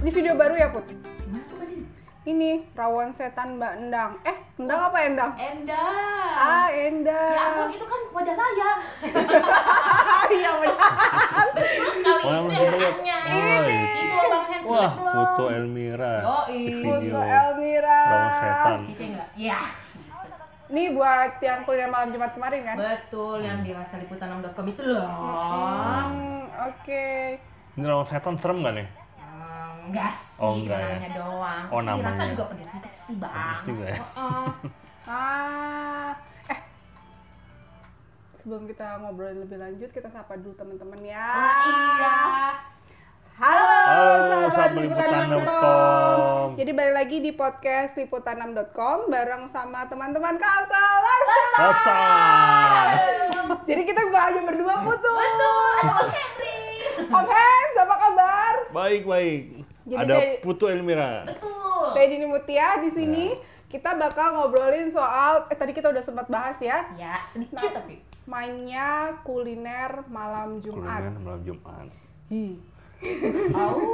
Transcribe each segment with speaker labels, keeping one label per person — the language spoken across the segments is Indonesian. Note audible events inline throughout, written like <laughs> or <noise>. Speaker 1: Ini video baru ya Put?
Speaker 2: Gimana tuh Badin?
Speaker 1: Ini rawon setan Mbak Endang. Eh, Endang apa Endang?
Speaker 2: Enda.
Speaker 1: Ah,
Speaker 2: Ya ampun
Speaker 1: Endang.
Speaker 2: itu kan wajah saya.
Speaker 1: <laughs> Ah, iya benar.
Speaker 2: Betul sekali
Speaker 3: Oh, yang
Speaker 2: itu
Speaker 3: belum lihat.
Speaker 2: yang hanya.
Speaker 3: Oh, iya.
Speaker 2: Itu Bang Hans
Speaker 3: Wah,
Speaker 2: belum.
Speaker 3: foto Elmira
Speaker 2: Yoi.
Speaker 3: di video
Speaker 1: Untuk Elmira.
Speaker 3: rawon Iya. setan.
Speaker 2: Kece nggak? Iya.
Speaker 1: Ini buat yang kuliah malam Jumat kemarin kan?
Speaker 2: Betul yang di rasaliputanam.com itu loh.
Speaker 1: Hmm, Oke.
Speaker 3: Ini rawon setan serem gak nih?
Speaker 2: Hmm, Enggak sih,
Speaker 3: Oh, enggak
Speaker 2: cuma
Speaker 3: ya.
Speaker 2: namanya doang.
Speaker 3: Oh,
Speaker 2: Tapi Rasa
Speaker 3: namanya.
Speaker 2: juga pedes juga sih, Bang.
Speaker 3: Pedes juga ya.
Speaker 2: Heeh.
Speaker 1: Ah, eh. Sebelum kita ngobrol lebih lanjut, kita sapa dulu teman-teman ya.
Speaker 2: Ah, iya.
Speaker 1: Halo,
Speaker 3: Halo,
Speaker 1: sahabat
Speaker 3: sahabat
Speaker 1: liputan6.com.
Speaker 3: liputan6.com.
Speaker 1: Jadi balik lagi di podcast liputan6.com bareng sama teman-teman Kalta Lifestyle.
Speaker 3: Lifestyle.
Speaker 1: Jadi kita gua aja berdua putus.
Speaker 2: Betul, ada Bang Henry.
Speaker 1: Om Hans, apa kabar?
Speaker 3: Baik baik.
Speaker 1: Jadi
Speaker 3: Ada
Speaker 1: saya-
Speaker 3: Putu Elmira.
Speaker 2: Betul.
Speaker 1: Saya Dini Mutia di sini.
Speaker 3: Ya.
Speaker 1: Kita bakal ngobrolin soal eh tadi kita udah sempat bahas ya,
Speaker 2: Ya, sedikit tapi.
Speaker 1: mainnya kuliner malam Jumat.
Speaker 3: Kuliner malam Jumat.
Speaker 1: Hi.
Speaker 2: Oh. <laughs>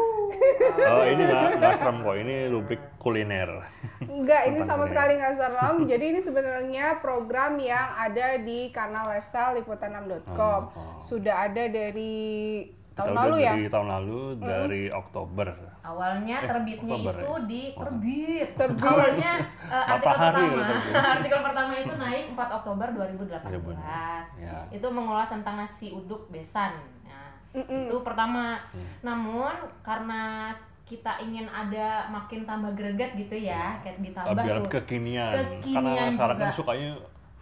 Speaker 3: Oh ini nggak nggak serem kok. Ini rubrik kuliner.
Speaker 1: Enggak, ini
Speaker 3: Tentang
Speaker 1: sama
Speaker 3: kuliner.
Speaker 1: sekali nggak serem. <laughs> Jadi ini sebenarnya program yang ada di kanal lifestyle liputan6.com.
Speaker 3: Oh, oh.
Speaker 1: Sudah ada dari tahun
Speaker 3: Kita udah
Speaker 1: lalu ya.
Speaker 3: Dari tahun lalu dari Oktober.
Speaker 2: Awalnya terbitnya
Speaker 3: Oktober
Speaker 2: itu
Speaker 3: Eh, ya?
Speaker 2: di terbit.
Speaker 1: Terbit.
Speaker 2: Awalnya eh, artikel
Speaker 3: Matahari
Speaker 2: pertama.
Speaker 3: loh terbit.
Speaker 2: <laughs> artikel pertama itu naik 4 Oktober 2018.
Speaker 3: 2018, ya.
Speaker 2: Itu mengulas tentang nasi uduk besan. Nah,
Speaker 1: Mm-mm.
Speaker 2: itu pertama.
Speaker 3: Hmm.
Speaker 2: Namun karena kita ingin ada makin tambah greget gitu
Speaker 3: Hmm.
Speaker 2: ya, kayak ditambah
Speaker 3: Biar
Speaker 2: tuh.
Speaker 3: kekinian.
Speaker 2: Kekinian
Speaker 3: Karena sekarang
Speaker 2: juga.
Speaker 3: kan sukanya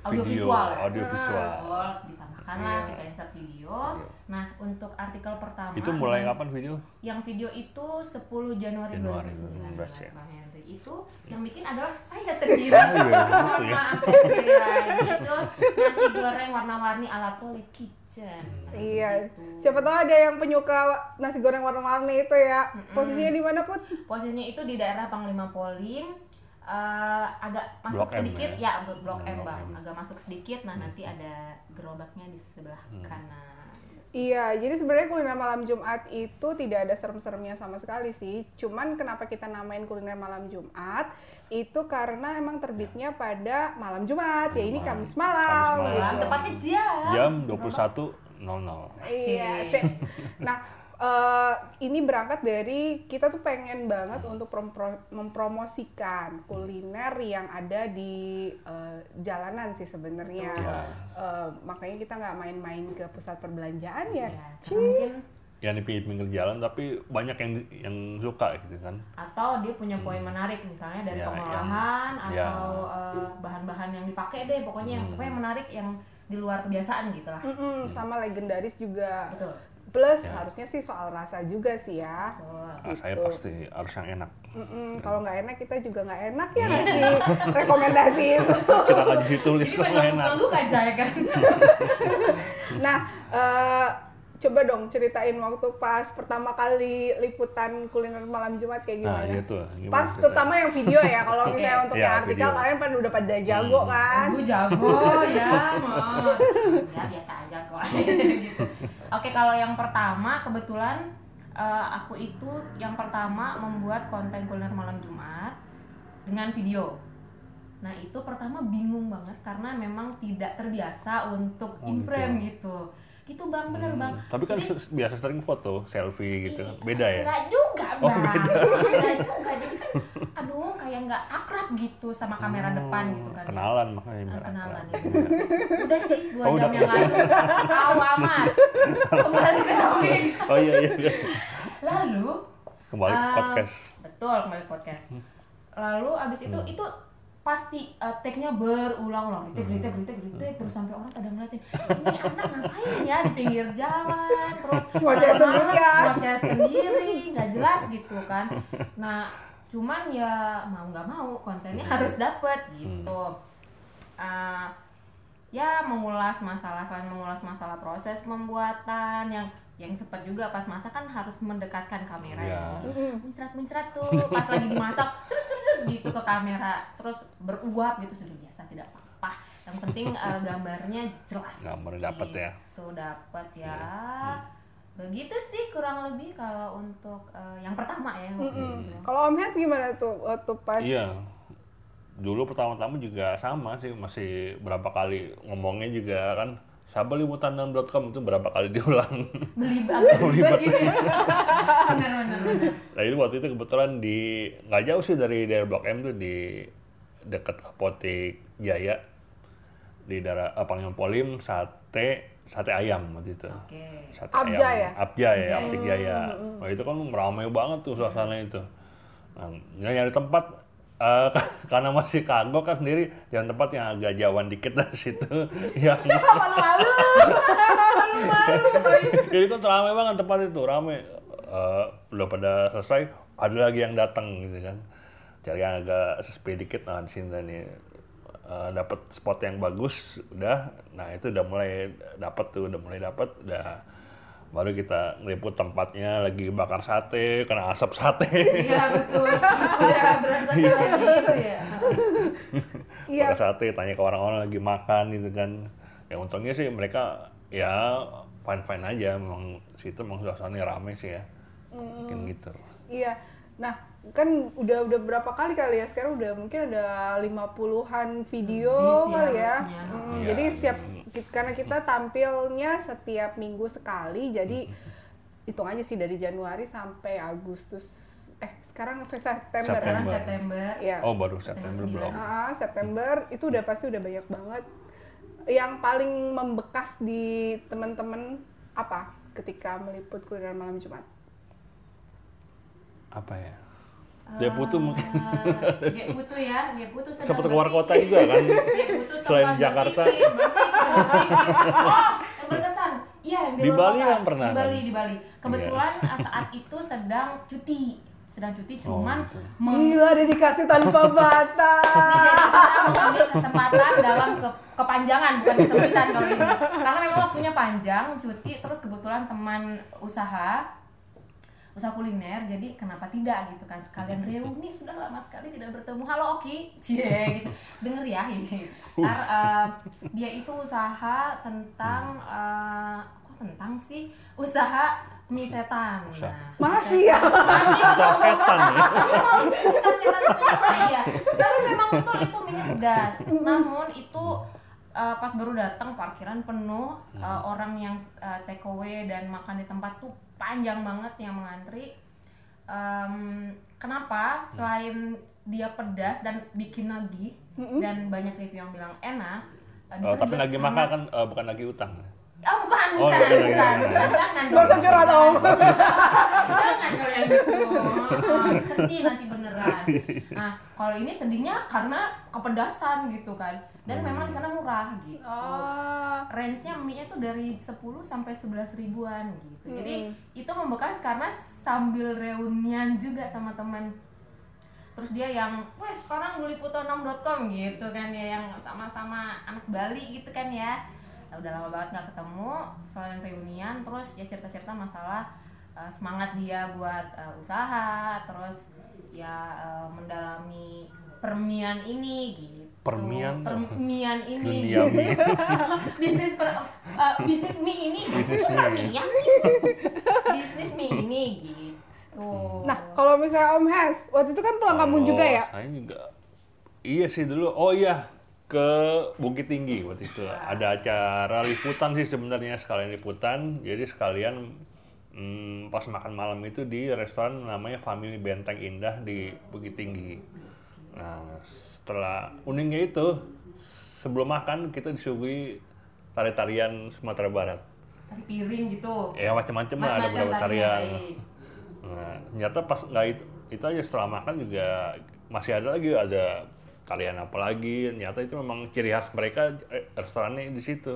Speaker 2: Audio
Speaker 3: video,
Speaker 2: visual.
Speaker 1: ya? Ah.
Speaker 3: audio visual.
Speaker 2: Betul, ditambahkanlah
Speaker 3: Iya.
Speaker 2: kita insert video.
Speaker 3: Iya.
Speaker 2: Nah, untuk artikel pertama
Speaker 3: Itu mulai
Speaker 2: dengan-
Speaker 3: kapan video?
Speaker 2: yang video itu 10 Januari,
Speaker 3: Januari
Speaker 2: 2019
Speaker 3: ya.
Speaker 2: Bang Henry itu yang bikin adalah saya
Speaker 3: <laughs>
Speaker 2: sendiri
Speaker 3: Ah, iya,
Speaker 2: Mohon
Speaker 3: gitu ya.
Speaker 2: maaf saya sendiri lagi itu nasi goreng warna-warni ala Tole Kitchen
Speaker 3: Hmm.
Speaker 2: Nah,
Speaker 1: Iya.
Speaker 2: gitu.
Speaker 1: Siapa tahu ada yang penyuka nasi goreng warna-warni itu ya. Posisinya di mana, Put?
Speaker 2: posisinya itu di daerah Panglima Polim eh, agak masuk
Speaker 3: Blok M
Speaker 2: sedikit
Speaker 3: ya?
Speaker 2: ya, Blok- blok M
Speaker 3: Blok
Speaker 2: bang
Speaker 3: M. Hmm.
Speaker 2: agak masuk sedikit nah nanti ada gerobaknya di sebelah kanan
Speaker 1: Iya, jadi sebenarnya kuliner malam Jumat itu tidak ada serem-seremnya sama sekali sih. Cuman kenapa kita namain kuliner malam Jumat itu karena emang terbitnya pada malam Jumat. Ya ini
Speaker 3: Jumat.
Speaker 1: Kamis malam.
Speaker 3: Kamis
Speaker 1: gitu.
Speaker 3: malam.
Speaker 2: Malam, tepatnya jam
Speaker 3: Jam
Speaker 2: Gerobak.
Speaker 3: 21.00.
Speaker 1: Iya.
Speaker 2: Asik.
Speaker 1: sip. Nah, eh, ini berangkat dari kita tuh pengen banget untuk prompro- mempromosikan kuliner yang ada di eh, jalanan sih sebenarnya.
Speaker 3: Iya.
Speaker 1: Eh, makanya kita nggak main-main ke pusat perbelanjaan ya.
Speaker 2: ya,
Speaker 3: Iya.
Speaker 2: karena mungkin
Speaker 3: yang di Ya, pinggir jalan tapi banyak yang yang suka gitu kan
Speaker 2: atau dia punya poin menarik misalnya dari
Speaker 3: Hmm. Ya,
Speaker 2: pengolahan
Speaker 3: yang- ya. Hmm.
Speaker 2: atau eh, bahan-bahan yang dipakai deh pokoknya yang pokoknya menarik yang di luar kebiasaan gitu lah
Speaker 1: Mm-mm, sama legendaris juga.
Speaker 2: betul
Speaker 1: Plus
Speaker 3: Ya.
Speaker 1: harusnya sih soal rasa juga sih ya.
Speaker 2: betul
Speaker 3: Ah, saya
Speaker 1: Gitu.
Speaker 3: pasti harus yang enak
Speaker 1: Mm-mm, Kalau nggak enak kita juga nggak enak
Speaker 3: Iya.
Speaker 1: ya nggak
Speaker 3: <laughs>
Speaker 1: sih rekomendasi itu.
Speaker 3: kita kasih tulis
Speaker 2: jadi
Speaker 3: kok
Speaker 2: pengen
Speaker 3: enak
Speaker 2: ganggu kan saya kan
Speaker 1: Nah, eh, coba dong ceritain waktu pas pertama kali liputan kuliner malam Jumat kayak
Speaker 3: nah
Speaker 1: gimana?
Speaker 3: gitu gimana
Speaker 1: Pas
Speaker 3: cerita?
Speaker 1: terutama yang video ya,
Speaker 3: <laughs>
Speaker 1: kalau misalnya
Speaker 2: Oke.
Speaker 1: untuk
Speaker 3: Iya,
Speaker 1: yang artikel
Speaker 3: video. Hmm.
Speaker 1: kalian kan udah pada jago kan?
Speaker 2: gue jago ya mau ya biasa aja kok <laughs> gitu oke kalau yang pertama kebetulan eh, aku itu yang pertama membuat konten kuliner malam Jumat dengan video nah itu pertama bingung banget karena memang tidak terbiasa untuk
Speaker 3: Oh,
Speaker 2: in frame
Speaker 3: gitu.
Speaker 2: gitu gitu bang bener
Speaker 3: Hmm,
Speaker 2: bang
Speaker 3: tapi kan
Speaker 2: Jadi-
Speaker 3: se- biasa sering foto selfie gitu
Speaker 1: Iya,
Speaker 3: beda ya
Speaker 2: Enggak juga, Bang.
Speaker 3: Oh,
Speaker 2: Enggak juga. Jadi kan aduh kayak enggak akrab gitu sama kamera
Speaker 3: Hmm,
Speaker 2: depan gitu kan.
Speaker 3: kenalan Iya. makanya biar
Speaker 2: Ah, kenalan
Speaker 3: akrab.
Speaker 2: ya. Udah sih 2
Speaker 3: Oh,
Speaker 2: jam
Speaker 3: udah.
Speaker 2: yang lalu.
Speaker 3: <laughs>
Speaker 2: Tahu amat. Kembali ke topik.
Speaker 3: oh iya iya iya.
Speaker 2: Lalu
Speaker 3: kembali ke
Speaker 1: Ah,
Speaker 2: eh,
Speaker 3: podcast Hmm.
Speaker 2: Betul, kembali ke podcast. Lalu abis itu itu pasti eh, tag-nya berulang-ulang retake
Speaker 3: Hmm.
Speaker 2: retake retake retake terus sampai orang pada ngeliatin ini anak ngapain ya di pinggir jalan terus
Speaker 1: Ngoceh sendirian.
Speaker 2: ngoceh sendiri nggak jelas gitu kan nah cuman ya mau nggak mau kontennya
Speaker 3: Hmm.
Speaker 2: harus dapet gitu Eh, ya mengulas masalah selain mengulas masalah proses pembuatan yang yang sempat juga pas masak kan harus mendekatkan kamera
Speaker 3: Iya.
Speaker 2: ya
Speaker 1: Mm-mm.
Speaker 2: muncrat-muncrat tuh pas lagi dimasak cerut cerut cerut gitu ke kamera terus beruap gitu sudah biasa tidak apa-apa yang penting eh, gambarnya Iya. jelas
Speaker 3: Gambar dapet ya.
Speaker 2: tuh dapat ya Begitu sih kurang lebih kalau untuk eh, yang pertama ya. waktu
Speaker 1: Mm-mm.
Speaker 2: itu.
Speaker 1: Kalau Om Hans gimana tuh waktu pas
Speaker 3: Iya. Dulu pertama-tama juga sama sih, masih berapa kali ngomongnya juga kan sabalimutandan.com itu berapa kali diulang.
Speaker 2: <laughs> Beli banget ribet gitu ya. bener bener bener.
Speaker 3: nah itu waktu itu kebetulan di nggak jauh sih dari daerah Blok M tuh di dekat apotek Jaya di daerah eh, Pangyam Polim sate sate ayam waktu itu.
Speaker 2: Oke.
Speaker 3: Sate
Speaker 1: Abja
Speaker 3: ayam.
Speaker 1: ya?
Speaker 3: Abja ya, Aptek Jaya. Wah itu kan ramai banget tuh suasana itu. Nah, ya nyari tempat eh, <laughs> karena masih kagok kan sendiri yang tempat yang agak jauhan dikit dari situ <laughs> yang
Speaker 1: malu-malu? malu-malu.
Speaker 3: jadi kan ramai banget tempat itu ramai Eh, udah pada selesai ada lagi yang datang gitu kan cari yang agak sepi dikit nah di sini nih Eh, dapat spot yang bagus udah nah itu udah mulai dapat tuh udah mulai dapat udah baru kita ngeliput tempatnya lagi bakar sate kena asap sate
Speaker 2: Iya betul. Udah berasa lagi itu ya.
Speaker 1: Iya.
Speaker 3: bakar sate tanya ke orang-orang lagi makan gitu kan ya untungnya sih mereka ya fine fine aja memang situ memang suasananya rame sih ya mungkin gitu
Speaker 1: Iya. Nah, kan udah udah berapa kali kali ya sekarang udah mungkin ada 50-an video
Speaker 2: Lebih Hmm, iya sih
Speaker 1: kali ya.
Speaker 2: harusnya.
Speaker 1: Hmm,
Speaker 3: Iya.
Speaker 1: Jadi setiap ki- karena kita tampilnya setiap minggu sekali jadi hitung aja sih dari Januari sampai Agustus eh sekarang September.
Speaker 3: September.
Speaker 2: Sekarang September.
Speaker 1: Iya.
Speaker 3: oh baru September
Speaker 2: Tanggal
Speaker 3: belum
Speaker 1: Ah, September itu udah pasti udah banyak banget. Yang paling membekas di teman-teman apa ketika meliput kuliner malam Jumat?
Speaker 3: apa ya dia butuh mungkin
Speaker 2: Eh, Gek Ah, Putu ya, Gek Putu sedang
Speaker 3: sempat keluar
Speaker 2: berpikir.
Speaker 3: kota juga kan
Speaker 2: Gek Putu sempat
Speaker 3: <laughs> Selain Jakarta.
Speaker 2: berpikir, berpikir, berpikir. Oh, yang berkesan. Iya, yang
Speaker 3: Di
Speaker 2: luar
Speaker 3: Bali
Speaker 2: kota.
Speaker 3: kan
Speaker 2: Di
Speaker 3: pernah kan?
Speaker 2: Bali, di Bali. Kebetulan eh, saat itu sedang cuti. Sedang cuti
Speaker 3: Oh,
Speaker 2: cuman
Speaker 3: gitu.
Speaker 2: meng-
Speaker 1: Gila dedikasi
Speaker 3: <laughs>
Speaker 1: tanpa batas.
Speaker 2: jadi kita mengambil kesempatan dalam ke- kepanjangan bukan kesempitan kalau ini karena memang waktunya panjang cuti terus kebetulan teman usaha usaha kuliner jadi kenapa tidak gitu kan sekalian reuni sudah lama sekali tidak bertemu halo Oki cie gitu. denger ya ini Ntar, eh, dia itu usaha tentang eh, kok tentang sih usaha mie setan
Speaker 3: Usaha.
Speaker 2: Nah,
Speaker 1: Masih ya.
Speaker 3: kita setan ya
Speaker 2: saya mau cita-cita semua iya tapi memang betul itu minyak pedas namun itu eh, pas baru datang parkiran penuh
Speaker 3: Hmm.
Speaker 2: Eh, orang yang eh, take away dan makan di tempat tuh panjang banget yang mengantri Em,
Speaker 3: Hmm.
Speaker 2: kenapa selain dia pedas dan bikin lagi
Speaker 1: Hmm.
Speaker 2: dan banyak review yang bilang enak eh, di
Speaker 3: <laughs> Oh,
Speaker 2: sana
Speaker 3: tapi
Speaker 2: juga
Speaker 3: lagi
Speaker 2: sangat-
Speaker 3: makan kan eh, bukan lagi utang
Speaker 2: Oh bukan,
Speaker 3: Oh,
Speaker 2: bukan,
Speaker 3: iya, iya,
Speaker 2: bukan,
Speaker 3: iya.
Speaker 2: bukan, jangan
Speaker 1: Gak usah
Speaker 2: dong.
Speaker 1: curhat
Speaker 3: <laughs>
Speaker 1: om.
Speaker 2: Jangan kalau yang gitu. Ah, Sedih nanti beneran. Nah, kalau ini sedihnya karena kepedasan gitu kan. Dan memang di sana murah gitu.
Speaker 1: Oh.
Speaker 2: Range-nya mie-nya tuh dari 10 sampai 11 ribuan gitu. Jadi itu membekas karena sambil reunian juga sama teman terus dia yang weh sekarang gue liputan6.com gitu kan ya yang sama-sama anak Bali gitu kan ya Nah, udah lama banget nggak ketemu selain reunian terus ya cerita-cerita masalah eh, semangat dia buat eh, usaha terus ya eh, mendalami permian ini gitu
Speaker 3: Permian?
Speaker 2: permian ini
Speaker 3: dunia
Speaker 2: <laughs> gitu.
Speaker 3: mie
Speaker 2: bisnis per, eh, bisnis mie ini
Speaker 3: Bisnis mie.
Speaker 2: permian sih bisnis mie ini gitu
Speaker 3: Hmm.
Speaker 1: Nah, kalau misalnya Om Hans, waktu itu kan pulang kampung
Speaker 3: Kalau
Speaker 1: juga ya?
Speaker 3: Oh, saya juga iya sih dulu oh iya ke Bukit Tinggi waktu itu ada acara liputan sih sebenarnya sekalian liputan jadi sekalian mm, pas makan malam itu di restoran namanya Family Benteng Indah di Bukit Tinggi nah setelah uningnya itu sebelum makan kita disuguhi tari-tarian Sumatera Barat
Speaker 2: Tari piring gitu.
Speaker 3: ya macam-macam lah ada
Speaker 2: Macam-macam iya,
Speaker 3: beberapa
Speaker 2: tarian.
Speaker 3: tarian Nah, ternyata pas nggak itu, itu aja setelah makan juga masih ada lagi ada tarian apa lagi. Ternyata itu memang ciri khas mereka eh, restorannya di situ.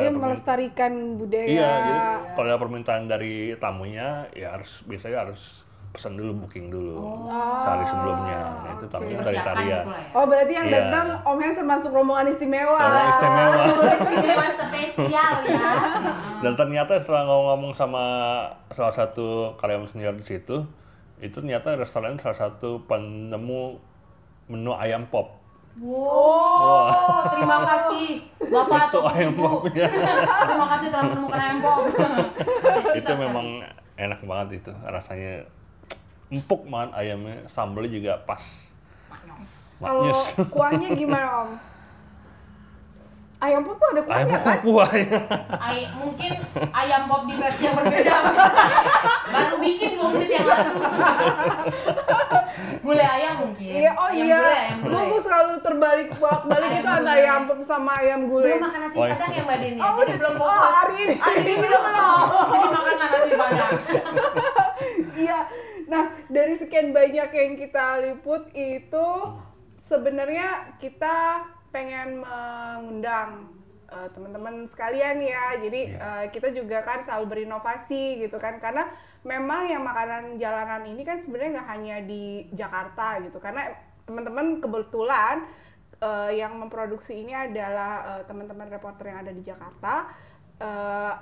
Speaker 1: Jadi ya.
Speaker 3: ada permintaan-
Speaker 1: melestarikan budaya.
Speaker 3: Iya, jadi kalau ada permintaan dari tamunya ya harus biasanya harus pesan dulu booking dulu
Speaker 2: Oh.
Speaker 3: sehari sebelumnya. Nah, itu tamunya dari
Speaker 2: Dipersiapkan
Speaker 3: tarian.
Speaker 2: gitu lah ya.
Speaker 1: Oh, berarti yang
Speaker 3: Iya.
Speaker 1: datang Om Hans termasuk rombongan istimewa.
Speaker 3: Orang istimewa.
Speaker 2: Istimewa spesial ya.
Speaker 3: Dan ternyata setelah ngomong-ngomong sama salah satu karyawan senior di situ, itu ternyata restoran salah satu penemu menu ayam pop.
Speaker 2: Wow, terima kasih Bapak
Speaker 3: Itu
Speaker 2: atau
Speaker 3: ayam
Speaker 1: <laughs>
Speaker 2: Ibu.
Speaker 3: popnya.
Speaker 2: terima kasih telah menemukan ayam pop.
Speaker 3: itu memang enak banget itu rasanya empuk banget ayamnya sambelnya juga pas
Speaker 1: Kalau <laughs>
Speaker 3: <laughs> maknyus
Speaker 1: kuahnya gimana om? Ayam pop ada
Speaker 3: ayam
Speaker 1: kuahnya kan?
Speaker 3: <laughs> kuahnya
Speaker 2: Ay, mungkin ayam pop di versi yang berbeda. Baru bikin 2 menit yang lalu. Gulai ayam mungkin.
Speaker 1: Iya, oh
Speaker 2: Ayam
Speaker 1: iya.
Speaker 2: gulai, ayam
Speaker 1: Gue
Speaker 2: gulai. Iya.
Speaker 1: gue selalu terbalik bolak balik
Speaker 2: Ayam
Speaker 1: itu antara
Speaker 2: gulai.
Speaker 1: ayam pop sama ayam
Speaker 2: Belum
Speaker 1: gulai.
Speaker 2: makan nasi
Speaker 3: Oh, iya.
Speaker 2: padang ya Mbak Deni?
Speaker 1: Oh,
Speaker 2: Jadi
Speaker 1: udah
Speaker 2: belum
Speaker 1: Oh,
Speaker 2: fokus.
Speaker 1: hari ini.
Speaker 2: Hari ini belum fokus. Jadi makan nasi padang.
Speaker 1: Iya. Nah, dari sekian banyak yang kita liput itu sebenarnya kita pengen mengundang eh, teman-teman sekalian ya. Jadi eh, kita juga kan selalu berinovasi gitu kan karena memang yang makanan jalanan ini kan sebenarnya nggak hanya di Jakarta gitu. Karena teman-teman kebetulan eh, yang memproduksi ini adalah eh, teman-teman reporter yang ada di Jakarta. Eh,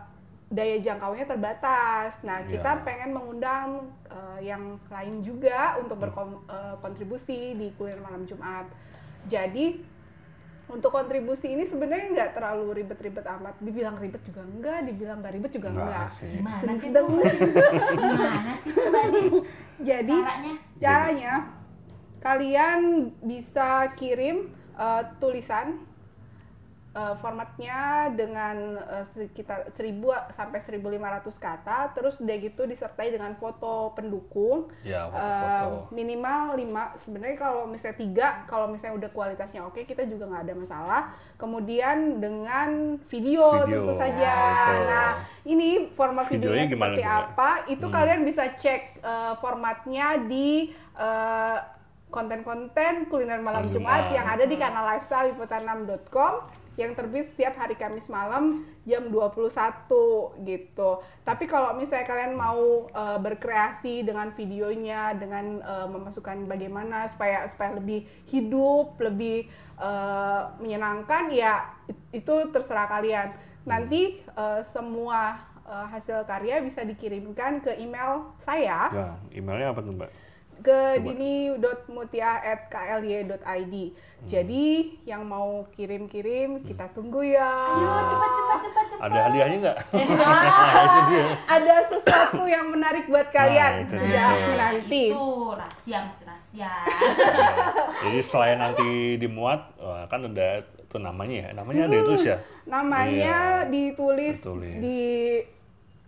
Speaker 1: daya jangkaunya terbatas. Nah,
Speaker 3: Iya.
Speaker 1: kita pengen mengundang eh, yang lain juga untuk berkontribusi di kuliner malam Jumat. Jadi untuk kontribusi ini sebenarnya nggak terlalu ribet-ribet amat. Dibilang ribet juga enggak, dibilang nggak ribet juga
Speaker 3: Nggak
Speaker 1: enggak.
Speaker 3: sih.
Speaker 2: Gimana sih tuh?
Speaker 1: Sedang-
Speaker 2: Gimana sih tuh Mbak Deni?
Speaker 1: Jadi
Speaker 2: Caranya?
Speaker 1: caranya kalian bisa kirim eh, tulisan eh, formatnya dengan eh, sekitar 1000 sampai 1500 kata terus udah gitu disertai dengan foto pendukung eh,
Speaker 3: ya foto-foto
Speaker 1: minimal 5 sebenarnya kalau misalnya tiga kalau misalnya udah kualitasnya oke kita juga nggak ada masalah kemudian dengan video,
Speaker 3: Video, Ya,
Speaker 1: tentu saja
Speaker 3: betul.
Speaker 1: nah ini format videonya,
Speaker 3: Videonya gimana
Speaker 1: seperti
Speaker 3: juga?
Speaker 1: apa itu kalian bisa cek eh, formatnya di eh, konten-konten kuliner malam
Speaker 3: Malam
Speaker 1: Jumat
Speaker 3: Jumat.
Speaker 1: yang ada di kanal lifestyle liputan6.com yang terbit setiap hari Kamis malam jam 21 gitu. Tapi kalau misalnya kalian mau eh, berkreasi dengan videonya dengan eh, memasukkan bagaimana supaya supaya lebih hidup, lebih eh, menyenangkan ya it- itu terserah kalian. Nanti eh, semua eh, hasil karya bisa dikirimkan ke email saya
Speaker 3: ya emailnya apa tuh mbak
Speaker 1: ke
Speaker 3: Coba.
Speaker 1: dini.mutia@klye.id.
Speaker 3: Hmm.
Speaker 1: Jadi yang mau kirim-kirim kita tunggu ya.
Speaker 2: Ayo cepat cepat cepat cepat.
Speaker 3: ada hadiahnya
Speaker 1: <laughs>
Speaker 3: nggak
Speaker 1: Ada sesuatu yang menarik buat kalian
Speaker 3: Nah, itu
Speaker 1: sudah
Speaker 3: dia.
Speaker 1: menanti.
Speaker 2: Iya, nah, Itu rahasia, masih rahasia.
Speaker 1: Iya.
Speaker 3: jadi selain nanti dimuat wah, kan udah tuh namanya ya namanya ada itu ya Iya.
Speaker 1: Namanya ditulis,
Speaker 3: Ditulis.
Speaker 1: di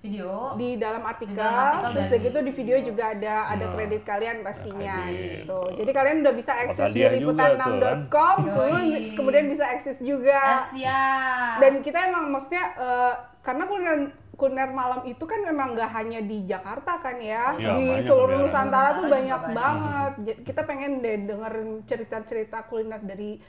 Speaker 2: Video.
Speaker 1: di dalam artikel,
Speaker 2: Di dalam artikel
Speaker 1: terus
Speaker 2: dan
Speaker 1: udah
Speaker 2: di
Speaker 1: gitu di video juga ada ada
Speaker 3: Nah,
Speaker 1: kredit kalian pastinya
Speaker 3: kredit.
Speaker 1: gitu. Jadi kalian udah bisa akses di
Speaker 3: hadiah juga kan?
Speaker 1: liputan6.com,
Speaker 2: tuh, kan?
Speaker 1: kemudian-
Speaker 2: Yoi.
Speaker 1: kemudian bisa akses juga
Speaker 2: Rahasia.
Speaker 1: dan kita emang maksudnya eh, karena kuliner kuliner malam itu kan memang nggak hanya di Jakarta kan ya,
Speaker 3: Iya,
Speaker 1: di
Speaker 3: banyak
Speaker 1: seluruh
Speaker 3: daerah.
Speaker 1: Nusantara tuh
Speaker 2: Banyak
Speaker 1: banyak
Speaker 2: banget.
Speaker 1: banget. Ja- Kita pengen deh dengerin cerita-cerita kuliner dari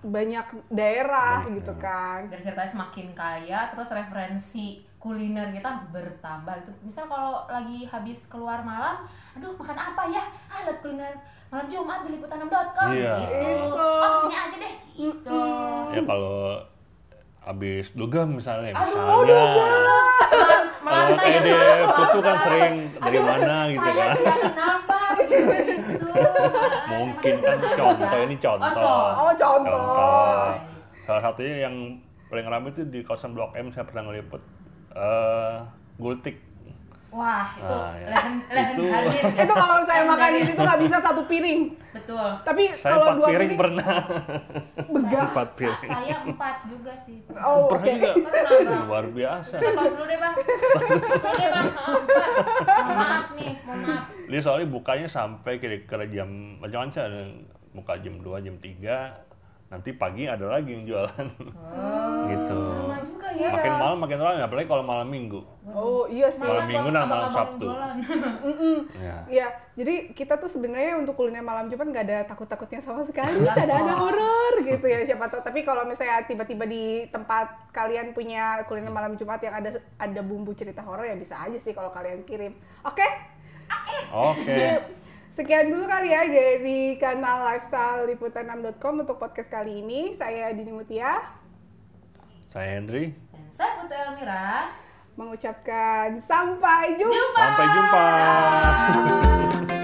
Speaker 1: banyak daerah
Speaker 3: Banyak ya.
Speaker 1: gitu kan.
Speaker 2: dari ceritanya semakin kaya terus referensi kuliner kita bertambah gitu misal kalau lagi habis keluar malam aduh makan apa ya ah lihat kuliner malam Jumat di liputan6.com
Speaker 3: Iya.
Speaker 2: gitu
Speaker 1: Gitu.
Speaker 2: oh kesini aja deh gitu
Speaker 3: ya kalau abis dugem misalnya
Speaker 2: Aduh,
Speaker 3: misalnya kalau
Speaker 2: Melantai
Speaker 3: TD
Speaker 2: ke bawah.
Speaker 3: putu kan sering dari
Speaker 2: Aduh,
Speaker 3: mana gitu
Speaker 2: saya
Speaker 3: kan
Speaker 2: tidak kenapa gitu gitu
Speaker 3: mungkin kan contoh ini contoh
Speaker 2: Oh,
Speaker 1: Oh
Speaker 2: contoh.
Speaker 3: Contoh.
Speaker 1: contoh.
Speaker 3: salah satunya yang paling ramai itu di kawasan blok M saya pernah ngeliput eh gultik
Speaker 2: wah itu
Speaker 3: Ah, ya.
Speaker 2: lehen lehen
Speaker 3: Itu-
Speaker 2: hadir ya.
Speaker 1: Itu kalau saya makan di situ nggak bisa satu piring,
Speaker 2: betul
Speaker 1: tapi
Speaker 3: saya
Speaker 1: kalau
Speaker 3: empat
Speaker 1: dua
Speaker 3: piring
Speaker 1: piring
Speaker 3: pernah
Speaker 1: begah.
Speaker 3: <laughs> empat
Speaker 2: Sa-
Speaker 3: piring
Speaker 2: saya empat juga sih
Speaker 1: Oh oke.
Speaker 3: pernah juga
Speaker 2: Pernah, Bang.
Speaker 3: luar biasa
Speaker 2: Close dulu deh bang, close dulu deh bang, Heeh, Pak. Mohon maaf nih, mohon maaf.
Speaker 3: Ini soalnya bukanya sampai kira-kira jam macam macam ada yang buka jam 2, jam 3 nanti pagi ada lagi yang jualan <laughs> gitu
Speaker 2: Lama juga ya.
Speaker 3: makin malam makin ramai apalagi kalau malam minggu
Speaker 1: Oh iya sih.
Speaker 3: Malam Minggu dan malam Sabtu.
Speaker 1: Mm-mm.
Speaker 3: ya
Speaker 1: Iya, jadi kita tuh sebenarnya untuk kuliner malam Jumat nggak ada takut-takutnya sama sekali,
Speaker 2: Nggak
Speaker 1: nggak ada ada
Speaker 2: kok.
Speaker 1: horor gitu ya siapa tahu. Tapi kalau misalnya tiba-tiba di tempat kalian punya kuliner malam Jumat yang ada ada bumbu cerita horor ya bisa aja sih kalau kalian kirim. Oke,
Speaker 3: oke
Speaker 1: sekian dulu kali ya dari kanal lifestyle liputan6.com untuk podcast kali ini. Saya Dini Mutia
Speaker 3: saya Hendri
Speaker 2: Dan saya Putri Elmira.
Speaker 3: <laughs>
Speaker 1: mengucapkan sampai jumpa.
Speaker 2: Jumpa.
Speaker 3: sampai jumpa